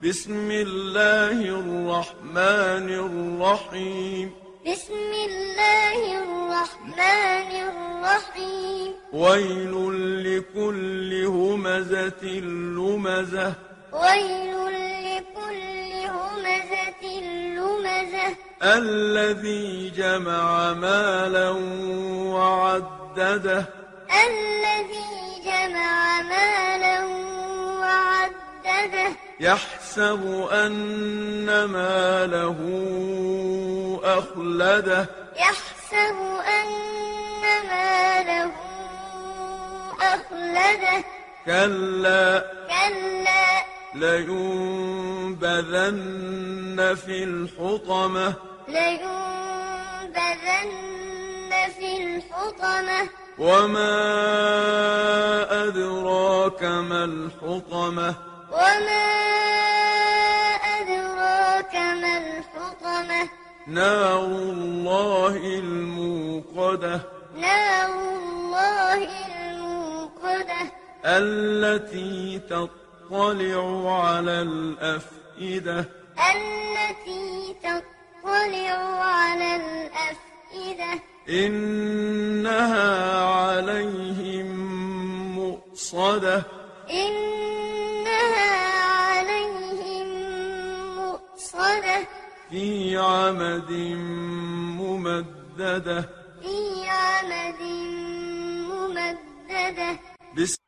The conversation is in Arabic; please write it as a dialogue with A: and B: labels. A: بسم الله الرحمن الرحيم
B: بسم الله الرحمن الرحيم
A: ويل لكل همزة لمزة
B: ويل لكل همزة لمزة
A: الذي جمع مالا وعدده
B: الذي جمع مالا وعدده
A: يحسب أن ماله أخلده
B: يحسب أن ماله أخلده
A: كلا
B: كلا
A: لينبذن في الحطمة
B: لينبذن في الحطمة
A: وما أدراك ما الحطمة
B: وما أدراك ما الحطمة
A: نار الله الموقدة
B: نار الله الموقدة
A: التي تطلع على الأفئدة
B: التي تطلع على الأفئدة
A: إنها عليهم مؤصدة
B: إنها عليهم مؤصدة
A: في عمد ممددة
B: في عمد ممددة
A: بسم